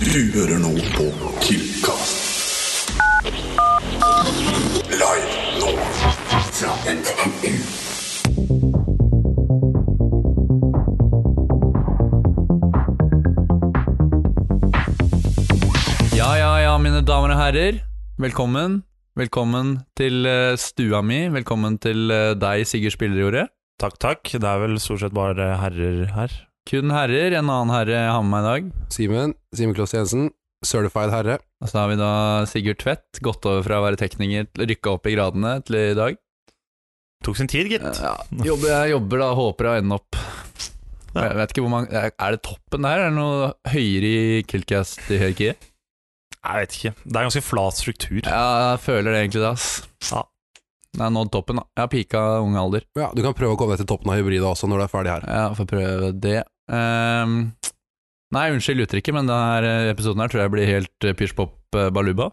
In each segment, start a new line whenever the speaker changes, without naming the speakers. Du hører nå på Killcast. Live nå fra NMU.
Ja, ja, ja, mine damer og herrer. Velkommen. Velkommen til eh, stua mi. Velkommen til eh, deg, Sigurd Spillerjordet.
Takk, takk. Det er vel stort sett bare herrer her.
Kun herrer. En annen herre jeg har med meg i dag.
Simen, Simen Kloss Jensen, certified herre.
Og så har vi da Sigurd Tvedt. Gått over fra å være tekniker til rykka opp i gradene til i dag.
Tok sin tid, gitt.
Eh, Ja, jobber, jeg jobber da, håper å ende opp. Jeg vet ikke hvor mange Er det toppen der? Er det noe høyere i Kiltcast i hierarkiet?
Jeg vet ikke. Det er ganske flat struktur.
Ja, jeg føler det egentlig, det, ass.
Ja.
Jeg har nådd toppen, da. Jeg har pika ung alder.
Ja, du kan prøve å komme deg til toppen av hybrida også når du er ferdig her.
Ja, får prøve det. Ehm, nei, unnskyld uttrykket, men denne episoden her tror jeg blir helt eh, pysj pop eh, baluba.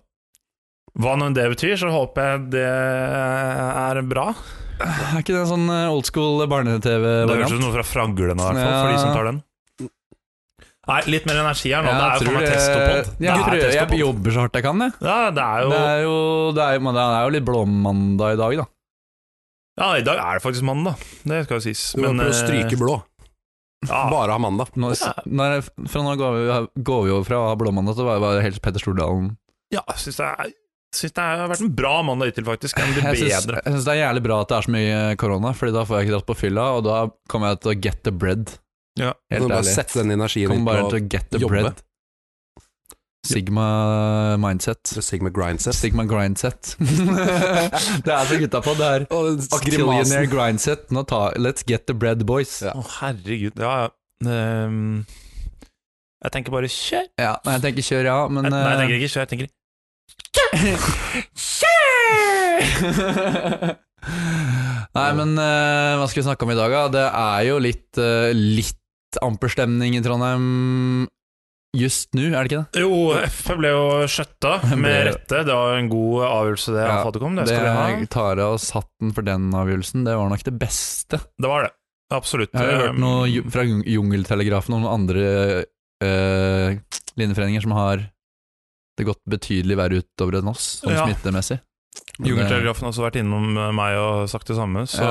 Hva nå enn det betyr, så håper jeg det er bra.
Er ikke det en sånn eh, old school
Det høres ut
barne-TV-variant?
som noe fra Franglene, i hvert fall, for
Ja.
de som tar den. Nei, litt mer energi her nå.
Ja,
det er jo faen meg testopod.
jeg, prøver,
det er
jeg
testopod.
jobber så hardt jeg kan, jeg.
Ja, det er jo
Det er jo, det er, men det er jo litt blåmandag i dag, da.
Ja, i dag er det faktisk mandag. Det skal jo sies.
Du må prøve
eh,
å stryke blå.
ja,
Bare ha mandag.
ah. Nå, s- når, jeg- fra nå går vi, går vi over fra å ha blåmandag til å være bare helt Petter Stordalen.
ja, jeg syns det, er- synes det har vært en bra mandag hittil, faktisk. Den blir
Jeg syns,
bedre.
jeg syns det er jævlig bra at det er så mye korona, Fordi da får jeg ikke dratt på fylla, og da kommer jeg til å get the bread.
Ja.
Du kan
Helt
bare
ærlig.
sette den energien
Kom
inn
bare
på
til å get the
jobbe.
bread. Sigma mindset.
Sigma Grindset.
Sigma grindset. det er så gutta på. Det er
Og den
Trillionaire
grimasen.
grindset. Nå ta, let's get the bread, boys.
Ja.
Å, herregud. Ja, ja. Ehm, jeg tenker bare kjør.
Ja, nei, jeg tenker kjør, ja, men
Nei, nei, jeg
eh,
tenker ikke kjør. Jeg tenker
Nei, men eh, hva skal vi snakke om i dag, da? Det er jo litt, eh, litt amperstemning i Trondheim just nå, er det ikke det?
Jo, F ble jo skjøtta med
Ble-
rette. Det var en god avgjørelse, det.
Ja,
av Fattigkom. Det,
det
skal vi ha.
jeg tar av oss hatten for den avgjørelsen. Det var nok det beste.
det var det. Absolutt.
Jeg har jo hørt noe ju-
Um,
fra jung- Jungeltelegrafen om noen andre eh, linjeforeninger som har det gått betydelig verre utover enn oss, sånn
Ja.
smittemessig. Men det-
Jungeltelegrafen har også vært innom eh, meg og sagt det samme. Så,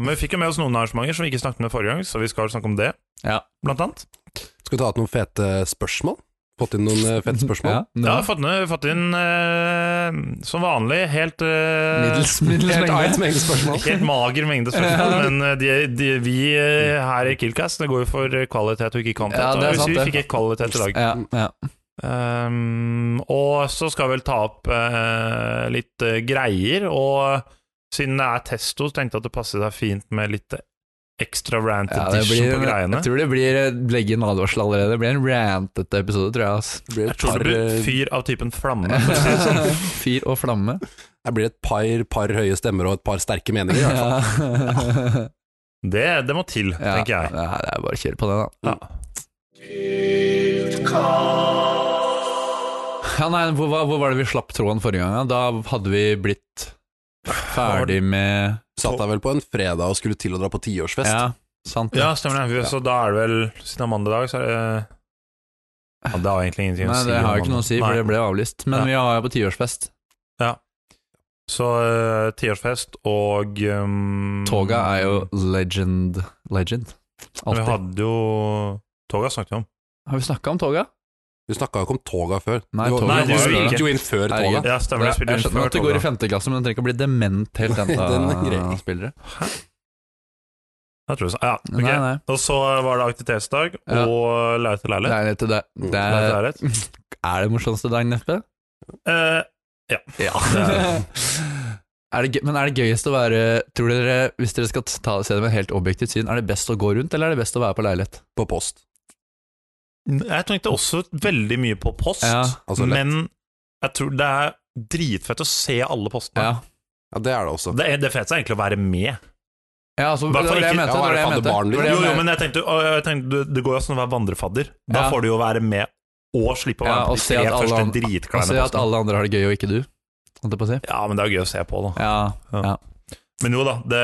Men vi fikk jo med oss noen arrangementer som vi ikke snakket med forrige gang, så vi skal snakke om det,
Ja.
blant annet.
Skal vi ta ut noen fete spørsmål? Fått inn noen eh, fete spørsmål?
Ja,
Ja,
ja.
fått, ned, fått inn eh, som vanlig helt eh,
Middels, middels
Helt
mengde.
annet mengde spørsmål.
Helt mager mengde spørsmål,
Ja.
men eh, de, de, vi eh, her i Killcast det går jo for eh, kvalitet og ikke kvantitet.
Ja, det er
og hvis
sant,
vi
det.
fikk ikke kvalitet i dag.
Ja, ja.
Ehm, og så skal vi vel ta opp eh, litt eh, greier, og siden det er testo, så tenkte jeg at det passet seg fint med litt eh, ekstra rant
Ja, det
edition
blir,
på greiene.
jeg tror det blir legge inn advarsel allerede. Det blir en rantete episode, tror jeg. ass.
Det blir
Jeg
et
tror
par,
det blir
eh,
fyr av typen flamme. for å si det sånn.
Fyr og flamme.
det blir et par, par høye stemmer og et par sterke meninger. i hvert fall.
Ja.
Det, det må til,
Ja.
tenker jeg.
Ja, det er bare å kjøre på det, da. Ja, nei, hvor, var- hvor var det vi slapp tråden forrige gang? Da, da hadde vi blitt ferdig med
Satt deg vel på en fredag og skulle til å dra på tiårsfest.
Ja, sant.
Ja, stemmer det. Vi- Så da er det vel Siden det er mandag i dag, så er det ja, Det har egentlig ingenting å
Nei,
si.
det har jo
om
ikke noe å si,
mandag.
for
Nei.
det ble avlyst. Men
Ja.
vi har jo på tiårsfest.
Så eh, tiårsfest og um,
Toga er jo legend. Legend.
Vi
Alltid.
hadde jo Toga snakket vi om.
Har vi snakka om toga?
Du snakka jo ikke om toga før.
Nei,
du,
toga
Nei,
du
det gjorde vi
spilte
ikke.
jo inn før
Herregud.
toga.
Ja, stemmer.
Jeg,
Jeg spilte inn
skjønner
før
at du går i
Toga.
femte klasse, men du trenger ikke å bli dement helt
Den
ennå,
greia.
spillere.
Jeg tror det er- ja, ok.
Nei, nei.
Og så var det aktivitetsdag
Ja.
og leilighet til leilighet.
Leilighet til deg. Det
Leilighet til
er,
leilighet.
er det morsomste dagen, Neppe?
Eh,
Ja.
Det er
er det gøy, men er det gøyest å være Tror dere, Hvis dere skal ta, se det med helt objektivt syn, er det best å gå rundt, eller er det best å være på leilighet?
På post.
Eh, jeg tenkte også veldig mye på post,
Ja.
Altså, lett.
men jeg tror det er dritfett å se alle postene.
Ja,
Ja, det er det også.
Det, er- det feteste er egentlig å være med.
ja altså, det var
Hvertfall
det jeg mente.
ikke-
ja,
det var
er
det jeg
det
mente.
fadderbarn,
Det var det
Jo,
jeg
jo,
mente.
men jeg tenkte, å, jeg tenkte du- Det går jo an å være vandrefadder. Da
Ja.
får du jo være med og slippe å
Ja,
være med
og
på de
se
tre
at alle
første
an- Og se
dritkleine
at
postene.
alle andre har det gøy, og ikke du. Holdt jeg på å si.
Ja, men det er jo gøy å se på, da.
Ja,
Men jo da, det,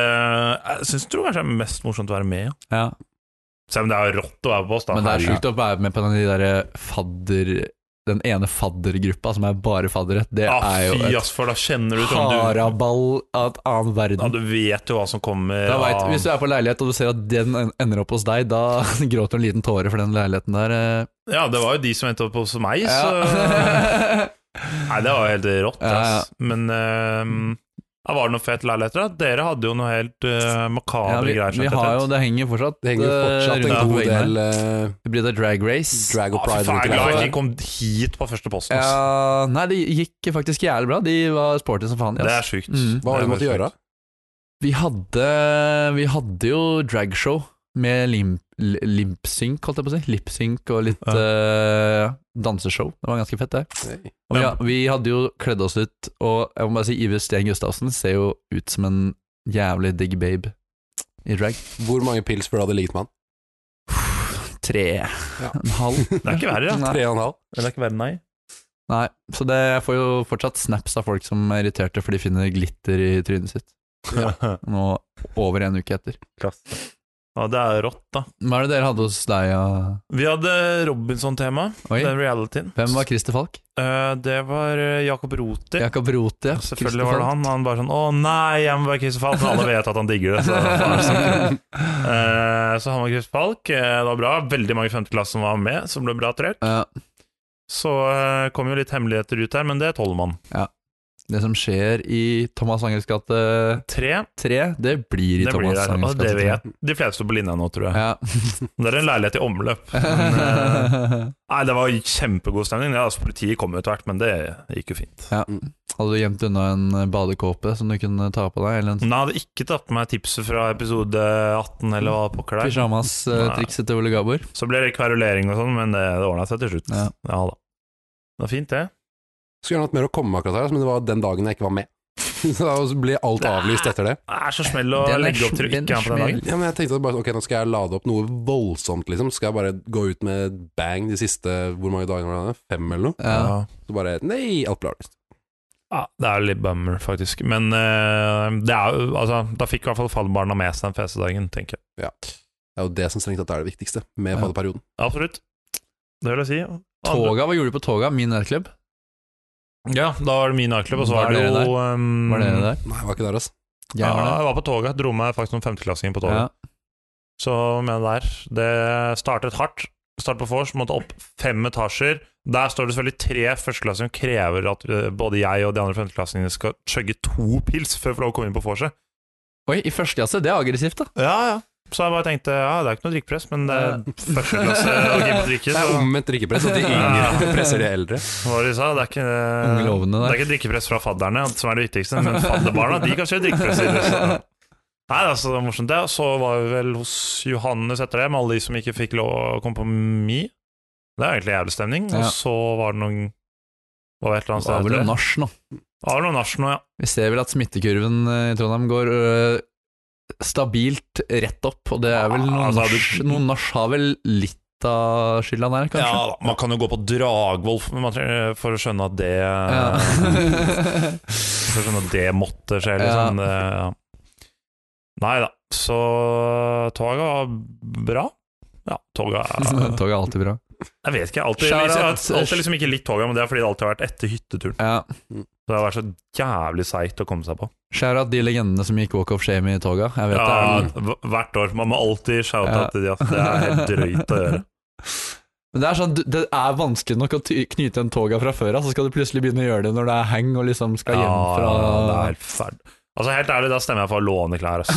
jeg syns tror kanskje det er mest morsomt å være med. ja.
ja.
Selv om det er rått å være på oss, da.
Men det er
Herregud.
sjukt å være med på den- de der eh, fadder den ene faddergruppa som er bare faddere, det
Ja,
er jo
Ah, fy
et
ass, for da kjenner du sånn du,
haraball av et annen
ja,
verden.
du vet jo hva som kommer.
Da vet,
av-
hvis du er på leilighet og du ser at den en- ender opp hos deg, da gråter du en liten tåre for den leiligheten der. eh.
Ja, det var jo de som endte opp hos meg, så
Ja.
Nei, det var jo helt rått,
Ja, ja.
ass. Men ehm, ja, var det noen fete leiligheter? da? Dere hadde jo noe helt eh,
ja,
makabre
vi,
greier.
vi har jo, det henger fortsatt,
Det henger jo
eh,
fortsatt
rundt
en
på
god
veggene her.
del eh,
Det blir da drag race.
drag og pride
Ah, faen, jeg er glad jeg ikke
rundt i
kom hit på første posten. ass.
Ja, nei, det gikk faktisk jævlig bra. De var sporty som faen.
Det
ja,
er
ass.
sjukt.
Mm.
Hva har du måttet gjøre?
Vi hadde, vi hadde jo dragshow med lim- li- lip-sync, holdt jeg på å si. Lip-sync og litt
Ja.
eh, danseshow. Det var ganske fett, det.
Nei.
Og vi,
Ja.
vi hadde jo kledd oss ut, og jeg må bare si Iver Sten Gustavsen ser jo ut som en jævlig digg babe i drag.
Hvor mange pils burde du ha ligget med han?
Tre. En halv.
Det er ikke verre, ja.
Nei.
Tre og en halv?
Det er ikke verre, nei.
Nei, så det, jeg får jo fortsatt snaps av folk som er irriterte for de finner glitter i trynet sitt. Nå over en uke etter.
Klasse. Ja, det er rått, da.
Hva er det dere hadde hos deg? Ja?
Vi hadde Robinson-tema,
Oi,
den realityen.
hvem var Christer Falk?
Eh, det var eh, Jakob Rother.
Jakob Rote, ja.
Selvfølgelig var det han. Han bare sånn 'Å nei, jeg må være Christer Falk', men alle vet at han digger det. Så, Eh, så han var Christer Falk. eh, det var bra. Veldig mange i femte klasse som var med, som ble bra trøkk.
Ja,
Så eh, kom jo litt hemmeligheter ut her, men det tåler man.
det som skjer i Thomas Angers gate
Tre,
3, det blir i
det blir
Thomas
der.
Angers
Og det
gate 3.
vet de fleste på linja nå, tror jeg.
Ja.
Det er en leilighet i omløp. Men, eh, nei, det var kjempegod stemning. Ja, altså, politiet kom jo etter hvert, men det gikk jo fint.
ja. Hadde du gjemt unna en badekåpe som du kunne ta på deg, eller en
Men jeg hadde ikke tatt med meg tipset fra episode 18 eller hva på klær.
pyjamas-trikset eh, til Ole Gabor?
Så ble det kverulering og sånn, men det, det ordna seg til slutt.
Ja.
Ja. da. Det var fint, det.
Skulle gjerne hatt mer å komme med akkurat her, altså, men det var den dagen jeg ikke var med. Så da ble alt avlyst etter det.
Det er så smell å
Den er
legge opp til å
sm- den
ikke ha på den dagen.
smell.
Ja, men jeg tenkte at bare, sånn, ok, nå skal jeg lade opp noe voldsomt, liksom. Skal jeg bare gå ut med et bang de siste hvor mange dagene var det? Fem eller noe?
Ja.
Så bare nei, alt ble avlyst.
Ja, det er litt bummer, faktisk. Men eh, det er, jo- altså, da fikk i hvert fall fallbarna med seg den festdagen, tenker jeg.
Det er jo det som strengt tatt er det viktigste med
Ja.
fadderperioden.
Absolutt. Det vil jeg si. Andre-
Toga, hva gjorde du på Toga? Min nærklubb?
Ja, da var det min nightclub, og så
Var
var det
dere
jo um,
Var dere der?
Nei, jeg var ikke der, altså.
Jeg
Ja,
var der.
jeg var på toget. Dro meg faktisk noen femteklassinger på toget.
Ja.
Så med det der Det startet hardt. Start på vors, måtte opp fem etasjer. Der står det selvfølgelig tre førsteklassinger og krever at eh, både jeg og de andre femteklassingene skal chugge to pils før vi får lov å komme inn på vorset.
Oi, i første klasse? Det er aggressivt, da.
Ja, ja. Så jeg bare tenkte ja, det er ikke noe drikkepress, men det er første klasse å ikke drikke.
Det er
Så
omvendt drikkepress, at de yngre presser de eldre.
hva var det de sa? Det er ikke,
Unge lovende
det
der.
er ikke drikkepress fra fadderne som er det viktigste, men fadderbarna de kan kjøre drikkepress. i det, sånn. så- Nei, det er så morsomt det. Og så var vi vel hos Johannes etter det, med alle de som ikke fikk lov å komme på Mi. Det er egentlig jævlig stemning. Og
Ja.
så var det noen Hva var det et eller annet
Det
sted
var vel
etter
noe
Altså, det?
nach nå.
Det var vel noe nach nå, ja.
Vi ser vel at smittekurven eh, i Trondheim går øh, stabilt rett opp, og det er vel noe
Ah, altså,
nach
du-
Noe nach har vel litt av skylda der,
ja
kanskje?
da. Man kan jo gå på Dragvoll for- man trenger- for å skjønne at det For å skjønne at det måtte skje, liksom. Det, ja. Nei da. Så toget var bra. Ja, toget er
Toget er alltid bra.
Jeg vet ikke. Alltid,
Shout
liksom,
out.
alltid, liksom ikke litt toget, men det er fordi det alltid har vært etter hytteturen.
Ja.
Så det har vært så jævlig seigt å komme seg på.
Skjær av de legendene som gikk walk of shame i toga. Jeg vet
Ja,
det. er-
hv- hvert år. Man må alltid shoute
Ja.
out til de, ass. Det er helt drøyt å gjøre.
Men det er sånn, du- det er vanskelig nok å ty- knyte en toga fra før av, så skal du plutselig begynne å gjøre det når det er hang og liksom skal hjem
det er
fra
helt ferd. Altså, helt ærlig, da stemmer jeg for å låne klær, ass.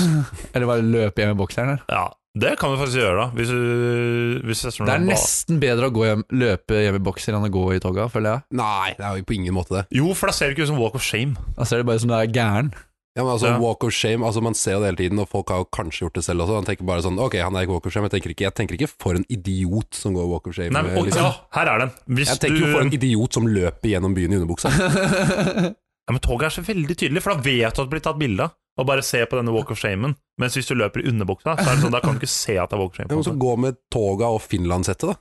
Eller bare løpe hjem i bokseren her.
Ja, det kan du faktisk gjøre, da. Hvis du hvis søsteren
Det er
din ba-
nesten bedre å gå hjem, løpe hjem i bokser enn å gå i toga, føler jeg.
Nei, det er jo på ingen måte det.
Jo, for da ser du ikke ut som walk of shame.
Da ser det bare ut som du Altså, er gæren.
Ja, men altså
Ja.
Walk of shame, altså man ser jo det hele tiden, og folk har jo kanskje gjort det selv også. Han tenker bare sånn Ok, han er ikke walk of shame. Jeg tenker ikke, jeg tenker ikke for en idiot som går walk of shame.
Nei, men, og,
liksom.
ja, her er den. Hvis
Jeg tenker jo for en
du,
idiot som løper gjennom byen i underbuksa.
ja, men toget er så veldig tydelig, for da vet du at det blir tatt bilde av. Og bare se på denne walk of shamen. Mens hvis du løper i underbuksa, så er det sånn, da kan du ikke se at det er walk of shame.
Ja,
På
men så gå med toga og finlandshette, da.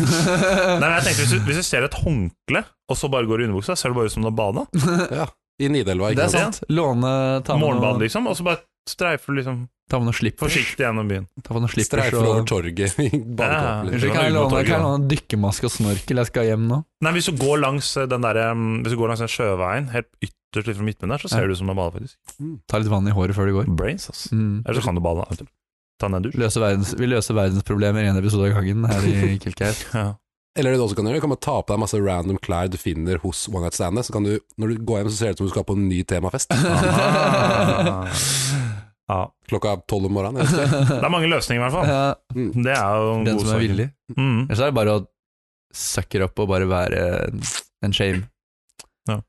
Nei, men jeg tenkte, hvis, du, hvis du ser et håndkle, og så bare går i underbuksa, ser det bare ut som du har bada.
Ja, I Nidelva,
Det
ikke
er
sant.
sant. Låne ta med noe-
Morgenbad, liksom. Og så bare streifer liksom
Ta med noen slippers.
forsiktig gjennom byen.
Ta med noen slippers
Streifer over
og
torget i badekåpen.
Unnskyld,
liksom.
kan jeg
Inn mot
låne
torget,
kan jeg
da.
låne en dykkermaske og snorkel? Jeg skal hjem nå.
Nei, hvis du går langs eh, den der, um, Hvis du går langs den sjøveien, helt ytterst litt fra midtbyen der, så ser
Ja.
du ut som du bader, faktisk.
Ta litt vann i håret før du går.
Brains, ass.
Mm.
Eller så kan du bade. da. Ta en dusj.
Løse verdens, vi løser verdensproblemer i en episode av gangen her i Kilkeir.
Ja.
Eller det du også kan gjøre, du kan bare ta på deg masse random klær du finner hos One Night Standet. Så kan du, når du går hjem, så ser det ut som du skal på en ny temafest.
Aha. ja.
Klokka er tolv om morgenen. jeg vet ikke.
Det er mange løsninger, i hvert fall.
Ja,
Det er jo en
den
god
som er
sak.
villig.
Mm.
Ellers er det bare å sucker opp og bare være en- en shame.
Ja.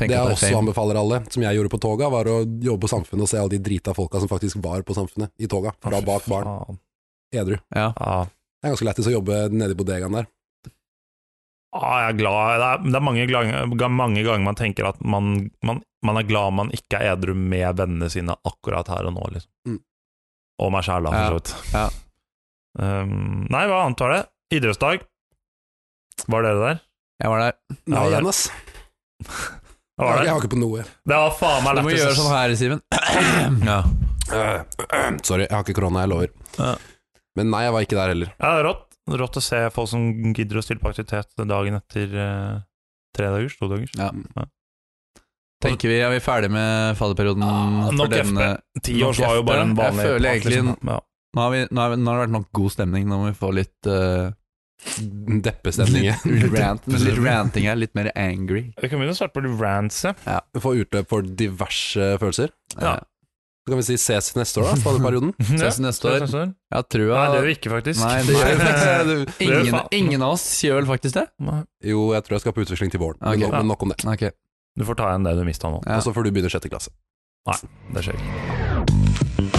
Tenk at
Det jeg
det er
også
shame.
anbefaler alle, som jeg gjorde på toga, var å jobbe på Samfunnet og se alle de drita folka som faktisk var på Samfunnet i toga. Fra bak barn.
Faen.
Edru.
Ja.
Ja.
Det er ganske lættis å jobbe nede i bodegaen der.
Ah, jeg er glad. Det er, det er mange, ganger, mange ganger man tenker at man, man, man er glad man ikke er edru med vennene sine akkurat her og nå, liksom.
Mm.
Og meg sjæl, da, for så vidt.
Ja.
Um, nei, hva annet var det? Idrettsdag. Var dere der?
Jeg var der.
Nei,
det er-
igjen, ass.
Ja,
Jeg
Var
jeg
det?
har ikke på noe.
det var faen meg
Du må
lættis,
gjøre
ass.
sånn her, Simen. ja.
Eh, Sorry, jeg har ikke korona, jeg
Ja.
lover. Men nei, jeg var ikke der heller.
Ja, det er rått. Rått å se folk som gidder å stille på aktivitet dagen etter eh, tre dagers, to dagers.
Ja. Tenker vi, Er vi ferdig med fadderperioden?
Ah,
for
nok
denne-
Ti
Nok
års var jo
efter.
bare en
Jeg
vanlig
føler
pakke,
egentlig-
liksom. ja.
nå, har vi, nå, har vi, nå har det vært nok god stemning. Nå må vi få litt eh,
Deppestemning.
Litt, rant, litt ranting her. Litt mer angry.
Vi kan begynne å starte på litt rants, ja.
Få utløp for diverse følelser.
Ja.
Eh,
Så kan vi si ses neste år, da, spadeperioden.
Ses neste år.
Ses neste år.
Jeg tror
Nei, det gjør vi
jeg
ikke, faktisk.
Nei, det gjør vi faktisk
Nei, det-
gjør vi
ingen,
faen.
ingen av oss gjør vel faktisk det?
Nei.
Jo, jeg tror jeg skal på utveksling til våren. Men
Ok.
nok- Men nok om det.
Ok
Du får ta igjen det du mista nå.
Ja.
Og så får du begynne sjette klasse.
Det skjer ikke.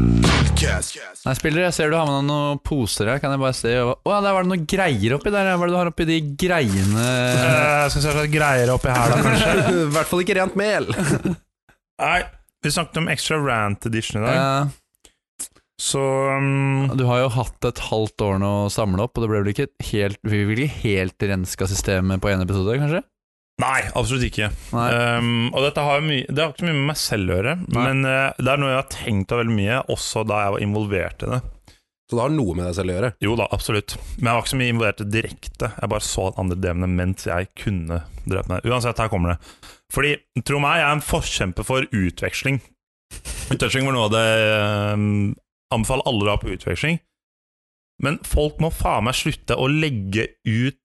Nei, spiller, jeg ser du har med deg noen poser her. Kan jeg bare se Å ja, der var det noen greier oppi der. ja. Hva er det du har oppi de greiene
Eh, skal vi se hva slags greier oppi her, da, kanskje.
I hvert fall ikke rent mel.
Nei, vi snakket om extra rant edition i dag,
Eh,
så um,
Du har jo hatt et halvt år nå å samle opp, og det ble vel ikke helt Vi vil ikke helt renska systemet på én episode, kanskje?
Nei, absolutt ikke.
Nei.
Um, og dette har, jo mye, det har ikke så mye med meg selv å gjøre,
Nei.
men eh, det er noe jeg har tenkt av veldig mye, også da jeg var involvert i det.
Så det har noe med deg selv å gjøre.
Jo da, absolutt. Men jeg var ikke så mye involvert direkte. Jeg bare så at andre DM-ene mens jeg kunne drept meg. Uansett, her kommer det. Fordi, tro meg, jeg er en forkjemper for utveksling. Utveksling var noe av det eh, Anbefaler alle å ha på utveksling. Men folk må faen meg slutte å legge ut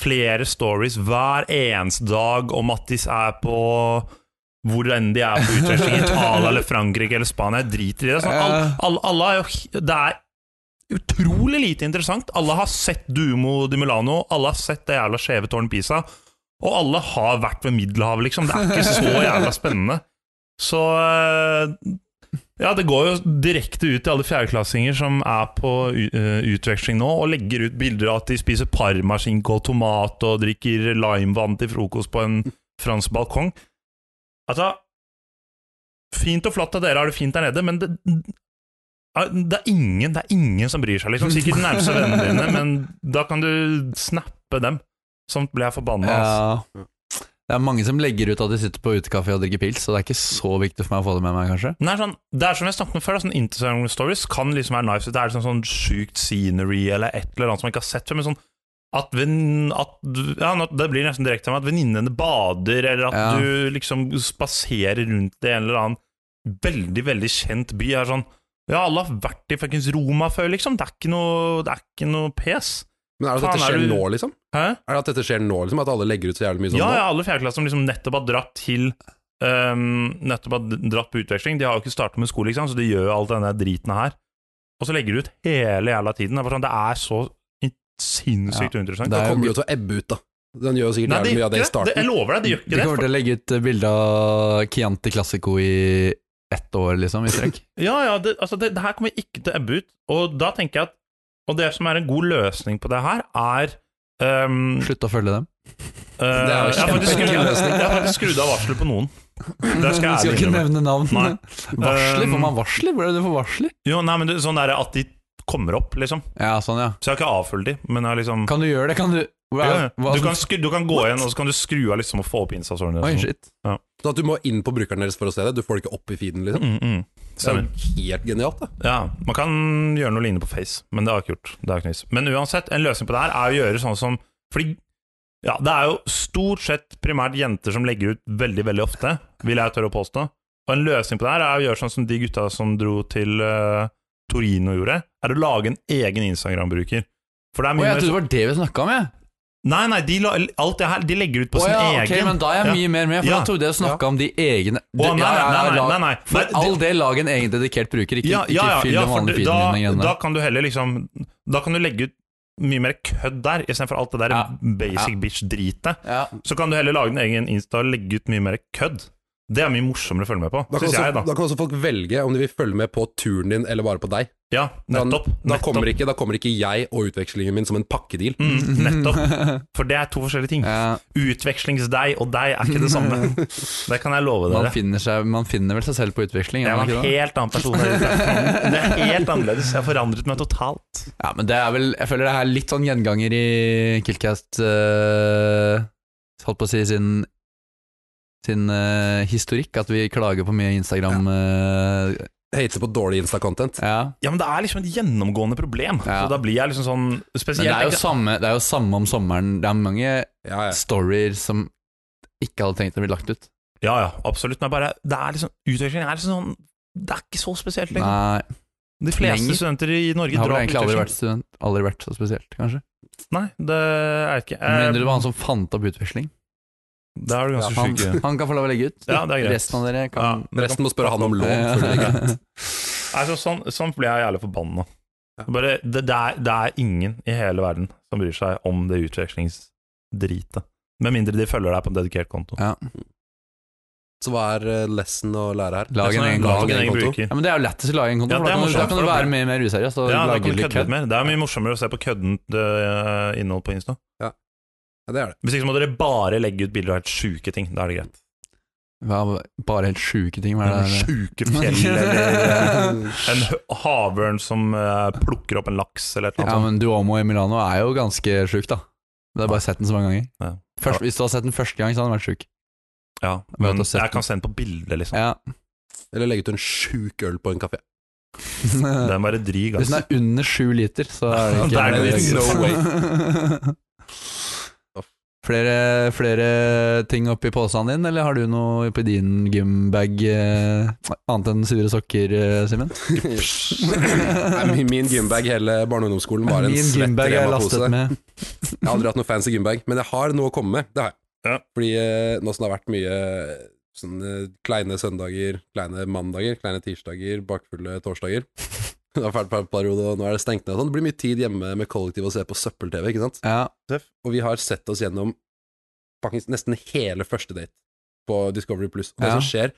flere stories hver eneste dag om at de er på hvor enn de er på utveksling, Italia eller Frankrike eller Spania. Jeg driter i det. Sånn, alle, alle, alle er jo h- Det er utrolig lite interessant. Alle har sett Duomo di Milano, alle har sett det jævla skjeve tårn Pisa, og alle har vært ved Middelhavet, liksom. Det er ikke så jævla spennende. Så eh, Ja, det går jo direkte ut til alle fjerdeklassinger som er på u- eh, utveksling nå, og legger ut bilder av at de spiser parmaskinke og tomat og drikker limevann til frokost på en fransk balkong. Altså Fint og flott at dere har det fint der nede, men det, ja, Det er ingen, det er ingen som bryr seg, liksom. Sikkert de nærmeste vennene dine, men da kan du snappe dem. Sånt ble jeg forbanna. Altså.
Ja. Det er mange som legger ut at de sitter på utekafé og drikker pils, så det er ikke så viktig for meg å få det med meg, kanskje.
Nei, sånn, det er som jeg snakket om før, da, sånn Instagram stories kan liksom være nice. Det er liksom sånn sjukt scenery eller et eller annet som jeg ikke har sett før. Men sånn at, venn- at du- ja, nå- Det blir nesten direkte med at venninnene bader, eller at
Ja.
du liksom spaserer rundt i en eller annen veldig, veldig kjent by. er sånn Ja, alle har vært i fuckings Roma før, liksom. Det er ikke noe, det er ikke noe pes.
Men er det at
Faen,
dette
er
skjer
du-
nå, liksom?
Hæ?
Er det at dette skjer nå, liksom? At alle legger ut så jævlig mye sånn
Ja,
nå?
ja, alle fjerdeklasser som liksom nettopp har dratt til ehm, Nettopp har d- dratt på utveksling. De har jo ikke startet med skole, ikke sant? så de gjør jo all denne driten her. Og så legger de ut hele jævla tiden. Det er, bare sånn, det er så in- sinnssykt
det
uinteressant.
Da
er jo-
kommer det jo til å ebbe ut, da. Den gjør jo sikkert
Nei, de
jævlig mye
gjør
av det i
ikke det. det. Jeg
starten.
lover deg, de
De
gjør ikke
kommer
det.
til å legge ut eh, bilde av Chianti Classico i ett år, liksom, i strekk.
Ja, ja, det, altså, det, det her kommer ikke til å ebbe ut. Og da tenker jeg at Og det som er en god løsning på det her, er ehm,
Slutt å følge dem.
eh,
er jo
jeg har faktisk
kjempe-
skrudd- jeg har faktisk skrudd av varselet på noen. Det skal jeg
skal
ærlig
ikke
innrømme.
nevne navn.
Nei.
Varsler? Får
Um,
man varsler? Hvor er det du får varsler?
Jo, nei, men det, sånn der at de kommer opp, liksom.
Ja, sånn, ja.
Så jeg har ikke avfølt de, men jeg har liksom
Kan du gjøre det? Kan du Hvor
Ja,
er,
ja.
hva,
Du, kan skru, du kan gå igjen og så kan du skru av liksom og få opp Insta-storen.
Oi, shit.
Sånn at du må inn på brukeren deres for å se det. Du får det ikke opp i feeden, liksom.
Mm, mm.
Det er
Stemmer.
jo helt genialt, da.
Ja, Man kan gjøre noe lignende på Face, men det har jeg ikke gjort. Det har jeg ikke noe vis. Men uansett, en løsning på det her er å gjøre sånn som Fordi ja, det er jo stort sett primært jenter som legger ut veldig, veldig ofte, vil jeg tørre å påstå. Og en løsning på det her er å gjøre sånn som de gutta som dro til eh, Torino gjorde, er å lage en egen Instagram-bruker. For det
Å,
er mye
jeg
mer
trodde det var det vi snakka om, jeg.
Nei, nei, de la, alt det her De legger ut på
Å
sin
ja,
egen.
ok, men da er jeg
Ja.
mye mer med, for
Ja.
da trodde jeg snakka om de egne
Å, nei,
Ja, ja, ja,
nei, nei,
lag-
nei, nei.
For
Nei,
all del, lag en egen dedikert bruker, ikke,
ja, ja, ja,
ikke fyll
ja,
den
for
vanlige
du-
feeden din med
da,
greiene.
da kan du heller liksom Da kan du legge ut mye mer kødd der, istedenfor alt det der
Ja.
basic bitch-dritet.
Ja.
Så kan du heller lage din egen Insta og legge ut mye mer kødd. Det er mye morsommere å følge med på,
Da kan,
syns
også,
jeg,
da.
da.
kan også folk velge om de vil følge med på turen din eller bare på deg.
Ja,
Da-
nettopp.
Da,
nettopp.
kommer ikke, da kommer ikke jeg og utvekslingen min som en pakkedeal.
Mm, nettopp. For det er to forskjellige ting.
Ja.
Utvekslingsdeg og deg er ikke det samme. Det kan jeg love
Man
dere.
finner, seg, man finner vel seg selv på utveksling?
Jeg
er man
var
ikke
en
det?
helt annen person. der ute. Det er helt annerledes. Jeg har forandret meg totalt.
Ja, men det er vel Jeg føler det er litt sånn gjenganger i Killcast eh, Holdt på å si sin sin eh, historikk, at vi klager på mye Instagram eh,
Hater på dårlig Insta-content.
ja.
Ja, men det er liksom et gjennomgående problem.
Ja.
Så da blir jeg liksom sånn
Men
spesielt
det er, jo
ikke-
samme, det er jo samme om sommeren. Det er mange
Ja, ja.
storyer som ikke hadde tenkt å bli lagt ut.
Ja, ja, absolutt. Men bare, det er liksom, utveksling er liksom sånn Det er ikke så spesielt lenger.
Nei,
De fleste
lenger.
studenter i Norge
jeg har
drar
vel
på
egentlig aldri
utveksling.
vært student. Aldri vært så spesielt, kanskje.
Nei, det er ikke eh,
Med mindre det var han som fant opp utveksling.
Da er du ganske
Han,
syk.
han kan få lov å legge ut.
Ja, det er greit.
Resten av dere
Ja,
kan
det kan-
Resten må spørre han om lov. før de legger ut.
Nei, så sånn, sånn blir jeg jævlig forbanna. Bare, det, det, er, det er ingen i hele verden som bryr seg om det utvekslingsdritet. Med mindre de følger deg på en dedikert konto.
Så hva er eh, lesson å lære her?
Lag en
Det er sånn-
egen
lag
konto.
en egen
konto.
bruker.
Ja, men Det er jo lettest å lage en konto,
Ja,
for
det
da kan, du, da
er morsomt,
kan du
for da
være
blir-
mye mer useriøs. Og
Ja, da
lage
kan du
litt
kødde litt
kødd.
mer. Det er mye morsommere å se på køddent eh, innhold på Insta.
Ja, det er det.
Hvis ikke så må dere bare legge ut bilder av helt sjuke ting. Da er det greit.
Hva- Bare helt sjuke ting. Hva er det?
Sjuke fjell eller
eh,
En hø- havørn som eh, plukker opp en laks eller et eller
Ja,
annet.
men Duomo i Milano er jo ganske sjuk, da. Men Det er bare sett den så mange ganger.
Ja.
Først, hvis du hadde sett den første gang, så hadde den vært sjuk.
sånt. Ja,
Bare at
men
du har sett den.
jeg kan se den på bilde, liksom.
Ja.
Eller legge ut en sjuk øl på en kafé.
Den er bare dryg,
Hvis den
ass.
er under sju liter, så er det ikke
Da er det liksom litt no
Flere, flere ting oppi posen din, eller har du noe oppi din gymbag eh, annet enn sure sokker, eh, Simen?
Nei, min- Min gymbag hele barne- og ungdomsskolen var en
Min
svett
gymbag er lastet
remapose.
med.
Jeg har aldri hatt noe fancy gymbag, men jeg har noe å komme med. Det har jeg.
Ja.
Fordi eh, nå som det har vært mye eh, sånne kleine søndager, kleine mandager, kleine tirsdager, bakfulle torsdager Det har vært en periode, og nå er det stengt ned og sånn. Det blir mye tid hjemme med kollektiv og se på søppel-TV, ikke sant.
Ja.
Og vi har sett oss gjennom faktisk nesten hele første date på Discovery Pluss. Og det
Ja.
som skjer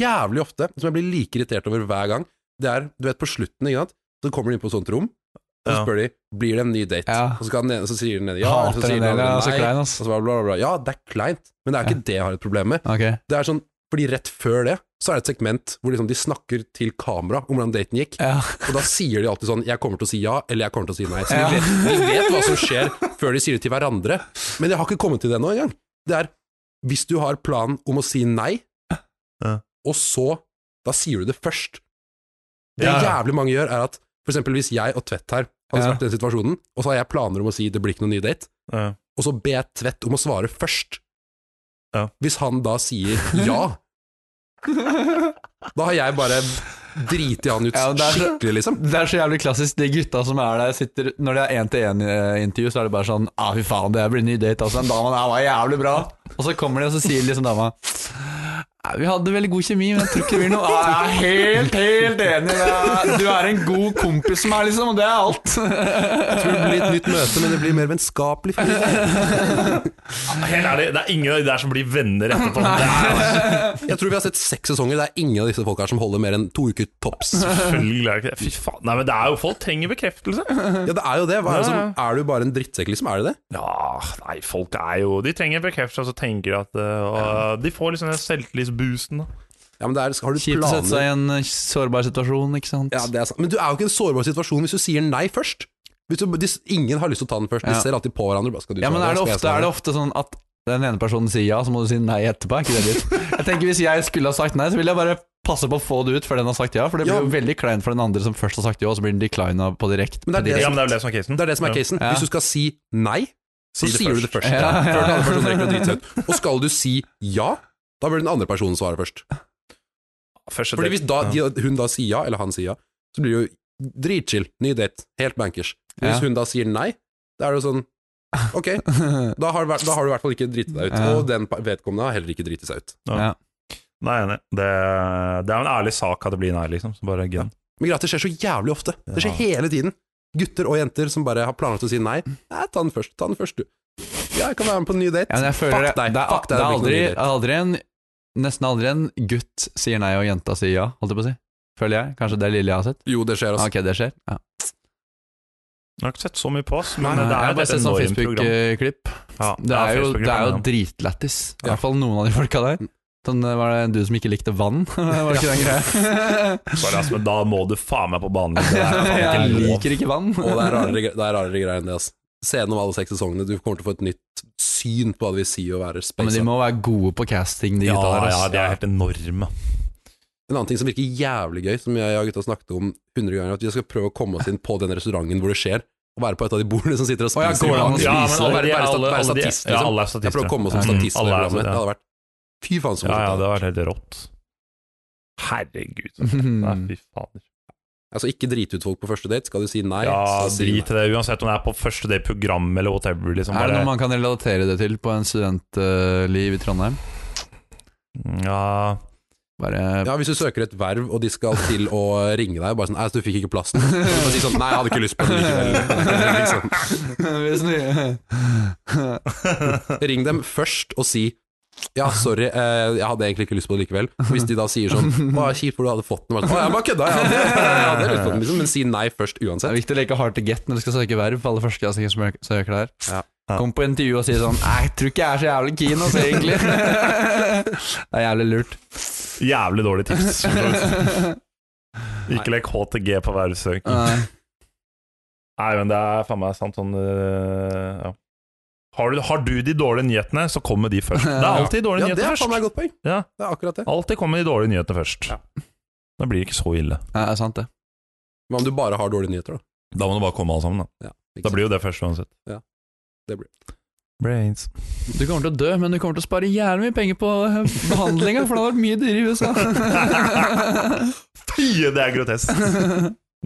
jævlig ofte, som jeg blir like irritert over hver gang, det er, du vet, på slutten, ikke sant, så kommer de inn på et sånt rom, og så
Ja.
spør de blir det en ny date.
Ja.
Og så, kan den ene, så sier den ene ja,
Hater
eller så sier
den
den
delen,
andre
ja, så
nei.
klein, altså. ass.
og så bla, bla, bla. Ja, det er kleint, men det er ikke det jeg har et problem med.
Ok.
Det er sånn, fordi rett før det, så er det et segment hvor liksom de snakker til kamera om hvordan daten gikk,
Ja.
og da sier de alltid sånn 'jeg kommer til å si ja', eller 'jeg kommer til å si nei'. Så
Ja.
de, vet, de vet hva som skjer før de sier det til hverandre. Men jeg har ikke kommet til det nå engang. Det er hvis du har planen om å si nei,
Ja.
og så Da sier du det først. Det
Ja.
jævlig mange gjør, er at for eksempel hvis jeg og Tvedt her hadde
Ja.
vært i den situasjonen, og så har jeg planer om å si 'det blir ikke noen ny date',
Ja.
og så ber jeg Tvedt om å svare først.
Ja.
Hvis han da sier ja, da har jeg bare driti han ut
Ja, det er så-
skikkelig, liksom.
Det er så jævlig klassisk. De gutta som er der, sitter Når det er én-til-én-intervju, så er det bare sånn ah, 'Fy faen, det blir ny date', altså. Den damen her var jævlig bra. Og så kommer de, og så sier liksom dama «Nei, vi hadde veldig god kjemi, men jeg tror ikke det blir noe. «Ja, Jeg er helt, helt enig. Det er- Du er en god kompis med meg, liksom, og det er alt.
Jeg tror det blir et nytt møte, men det blir mer vennskapelig. Jeg
Helt ærlig, det er ingen av de der som blir venner etterpå. Det er
tror vi har sett seks sesonger. Det er ingen av disse folka her som holder mer enn to uker tops.
selvfølgelig er det ikke det. Fy faen. Nei, men det er jo folk trenger bekreftelse.
Ja, det er jo det. Hva er, det
Ja,
som, er du bare en drittsekk, liksom? Er du det?
Ja, nei, folk er jo De trenger bekreftelse, og så tenker de at eh, og De får liksom den selvtillitsboosten, da.
Ja, men det er, har du
Kjipt å sette seg i
planer?
en sårbar situasjon, ikke sant.
Ja, det er sant. Men du er jo ikke i en sårbar situasjon hvis du sier nei først. Hvis du, hvis ingen har lyst til å ta den først. De
Ja.
ser alltid på hverandre. Bare skal du
Ja,
ta
men er det,
skal jeg
ofte,
ta
er det ofte sånn at den ene personen sier ja, så må du si nei etterpå? Er ikke det litt? Jeg tenker Hvis jeg skulle ha sagt nei, så ville jeg bare passe på å få det ut før den har sagt ja. For det blir
Ja.
jo veldig kleint for den andre som først har sagt ja, og så blir den declina på direkte.
Men det er det
Ja, men
som-
det er jo det som er casen.
Det er det som er casen.
Ja.
Hvis du skal si nei, så
Si det
sier du det først. Ja,
Ja, ja.
Før den andre personen rekker å drite seg ut. Og skal du si ja, da bør den andre personen svare først.
Først
Fordi hvis da, de, hun da sier ja, eller han sier ja, så blir det jo dritchill, ny date, helt bankers. Men
Ja.
hvis hun da sier nei, da er det jo sånn Ok, da har, du vært- da har du i hvert fall ikke driti deg ut.
Ja.
Og den pa- vedkommende har heller ikke driti seg ut.
Nei, nei, det, det er jo en ærlig sak at det blir nei, liksom. Så bare gun.
Men greit, det skjer så jævlig ofte. Det skjer hele tiden. Gutter og jenter som bare har planlagt å si nei. Nei, ta den først. Ta den først, du. Ja, jeg kan være med på en ny date.
Ja, men jeg føler
Fuck
det,
deg.
det, er,
Fuck deg,
det er
det blir
aldri,
ikke noe
aldri en Nesten aldri en gutt sier nei og jenta sier ja, holdt jeg på å si. Føler jeg. Kanskje det er lille jeg har sett.
Jo, det skjer, altså.
Ok, det skjer. Ja.
Jeg har ikke sett så mye på oss, men
Nei,
det
jeg
er
har
jo
bare
et
sett sånn
enormt program.
Facebook-klipp.
Ja,
Det er jo, det er jo
Facebook-program,
dritlættis. I
Ja.
hvert fall noen av de folka der. Sånn, eh, var det en du som ikke likte vann? var det ikke den greia?
ja. Sorry, ass, men da må du faen meg på banen. Det er faen ikke
jeg
lov.
liker ikke vann.
Og det er rarere, det er rarere greier enn det, altså. Se gjennom alle seks sesongene. Du kommer til å få et nytt syn på hva det vil si å være
Ja, men
space.
de må være gode på casting, de
liksom. Ja,
gutta der.
ja,
ass.
de er helt enorme.
En annen ting som virker jævlig gøy, som jeg og gutta snakket om hundre ganger, at vi skal prøve å komme oss inn på den restauranten hvor det skjer, og være på et av de bordene som sitter
Å,
og
ja, går
spiser.
det an å
ja,
spise
de er
men alle, være,
alle-
alle,
alle
være
de-
statist,
Ja,
liksom.
alle er
jeg prøver å
statister.
komme oss som
Mm.
statist. i
Alle er
programmet.
det.
Det hadde vært Fy faen, så
Ja, ja, det
morsomt. det hadde vært.
var helt rått. Herregud. Nei,
Mhm.
fy fader.
Altså, ikke drite ut folk på første date. Skal du si nei,
Ja,
så si
drit
nei.
i det. Uansett om det er på første day program eller whatever. Liksom,
Er det
bare,
noe man kan relatere det til på en studentliv i Trondheim?
ja,
Bare
Ja, Hvis du søker et verv, og de skal til å ringe deg bare sånn 'Nei, så du fikk ikke plassen.' Så kan du si sånn 'Nei, jeg hadde ikke lyst på det likevel.' liksom.
Hvis ni-
Ring dem først og si ja, sorry, eh, jeg hadde egentlig ikke lyst på det likevel. Hvis de da sier sånn Å, kjipt for du hadde fått den. Bare sånn, Å, jeg bare kødda, jeg hadde, jeg hadde lyst på den, liksom. Men si nei først
Det er
uansett.
viktig å leke hard to get når du skal søke verv på aller første gang som søker- søker der.
Ja.
Kom på intervju og si sånn Nei, jeg tror ikke jeg er så jævlig keen, altså, egentlig. det er jævlig lurt.
Jævlig dårlig tips. for så
altså.
vidt. Ikke lek HTG på vervsøk.
Nei.
Nei, men det er faen meg sant sånn øh, ja. har, du, har du de dårlige nyhetene, så kom med de først. Det er alltid
Ja,
dårlige
det
nyheter
er faen
først.
meg et godt poeng.
Ja.
Det er akkurat det.
Alltid kom med de dårlige nyhetene først. Da blir det ikke så ille.
Ja, det er sant, det.
Men om du bare har dårlige nyheter, da.
Da må du bare komme alle sammen, da.
Ikke
Da blir jo det først uansett.
Ja, det blir
Brains.
Du kommer til å dø, men du kommer til å spare jævlig mye penger på eh, behandlinga, for det har vært mye dyrere i USA.
Fy, det er grotesk!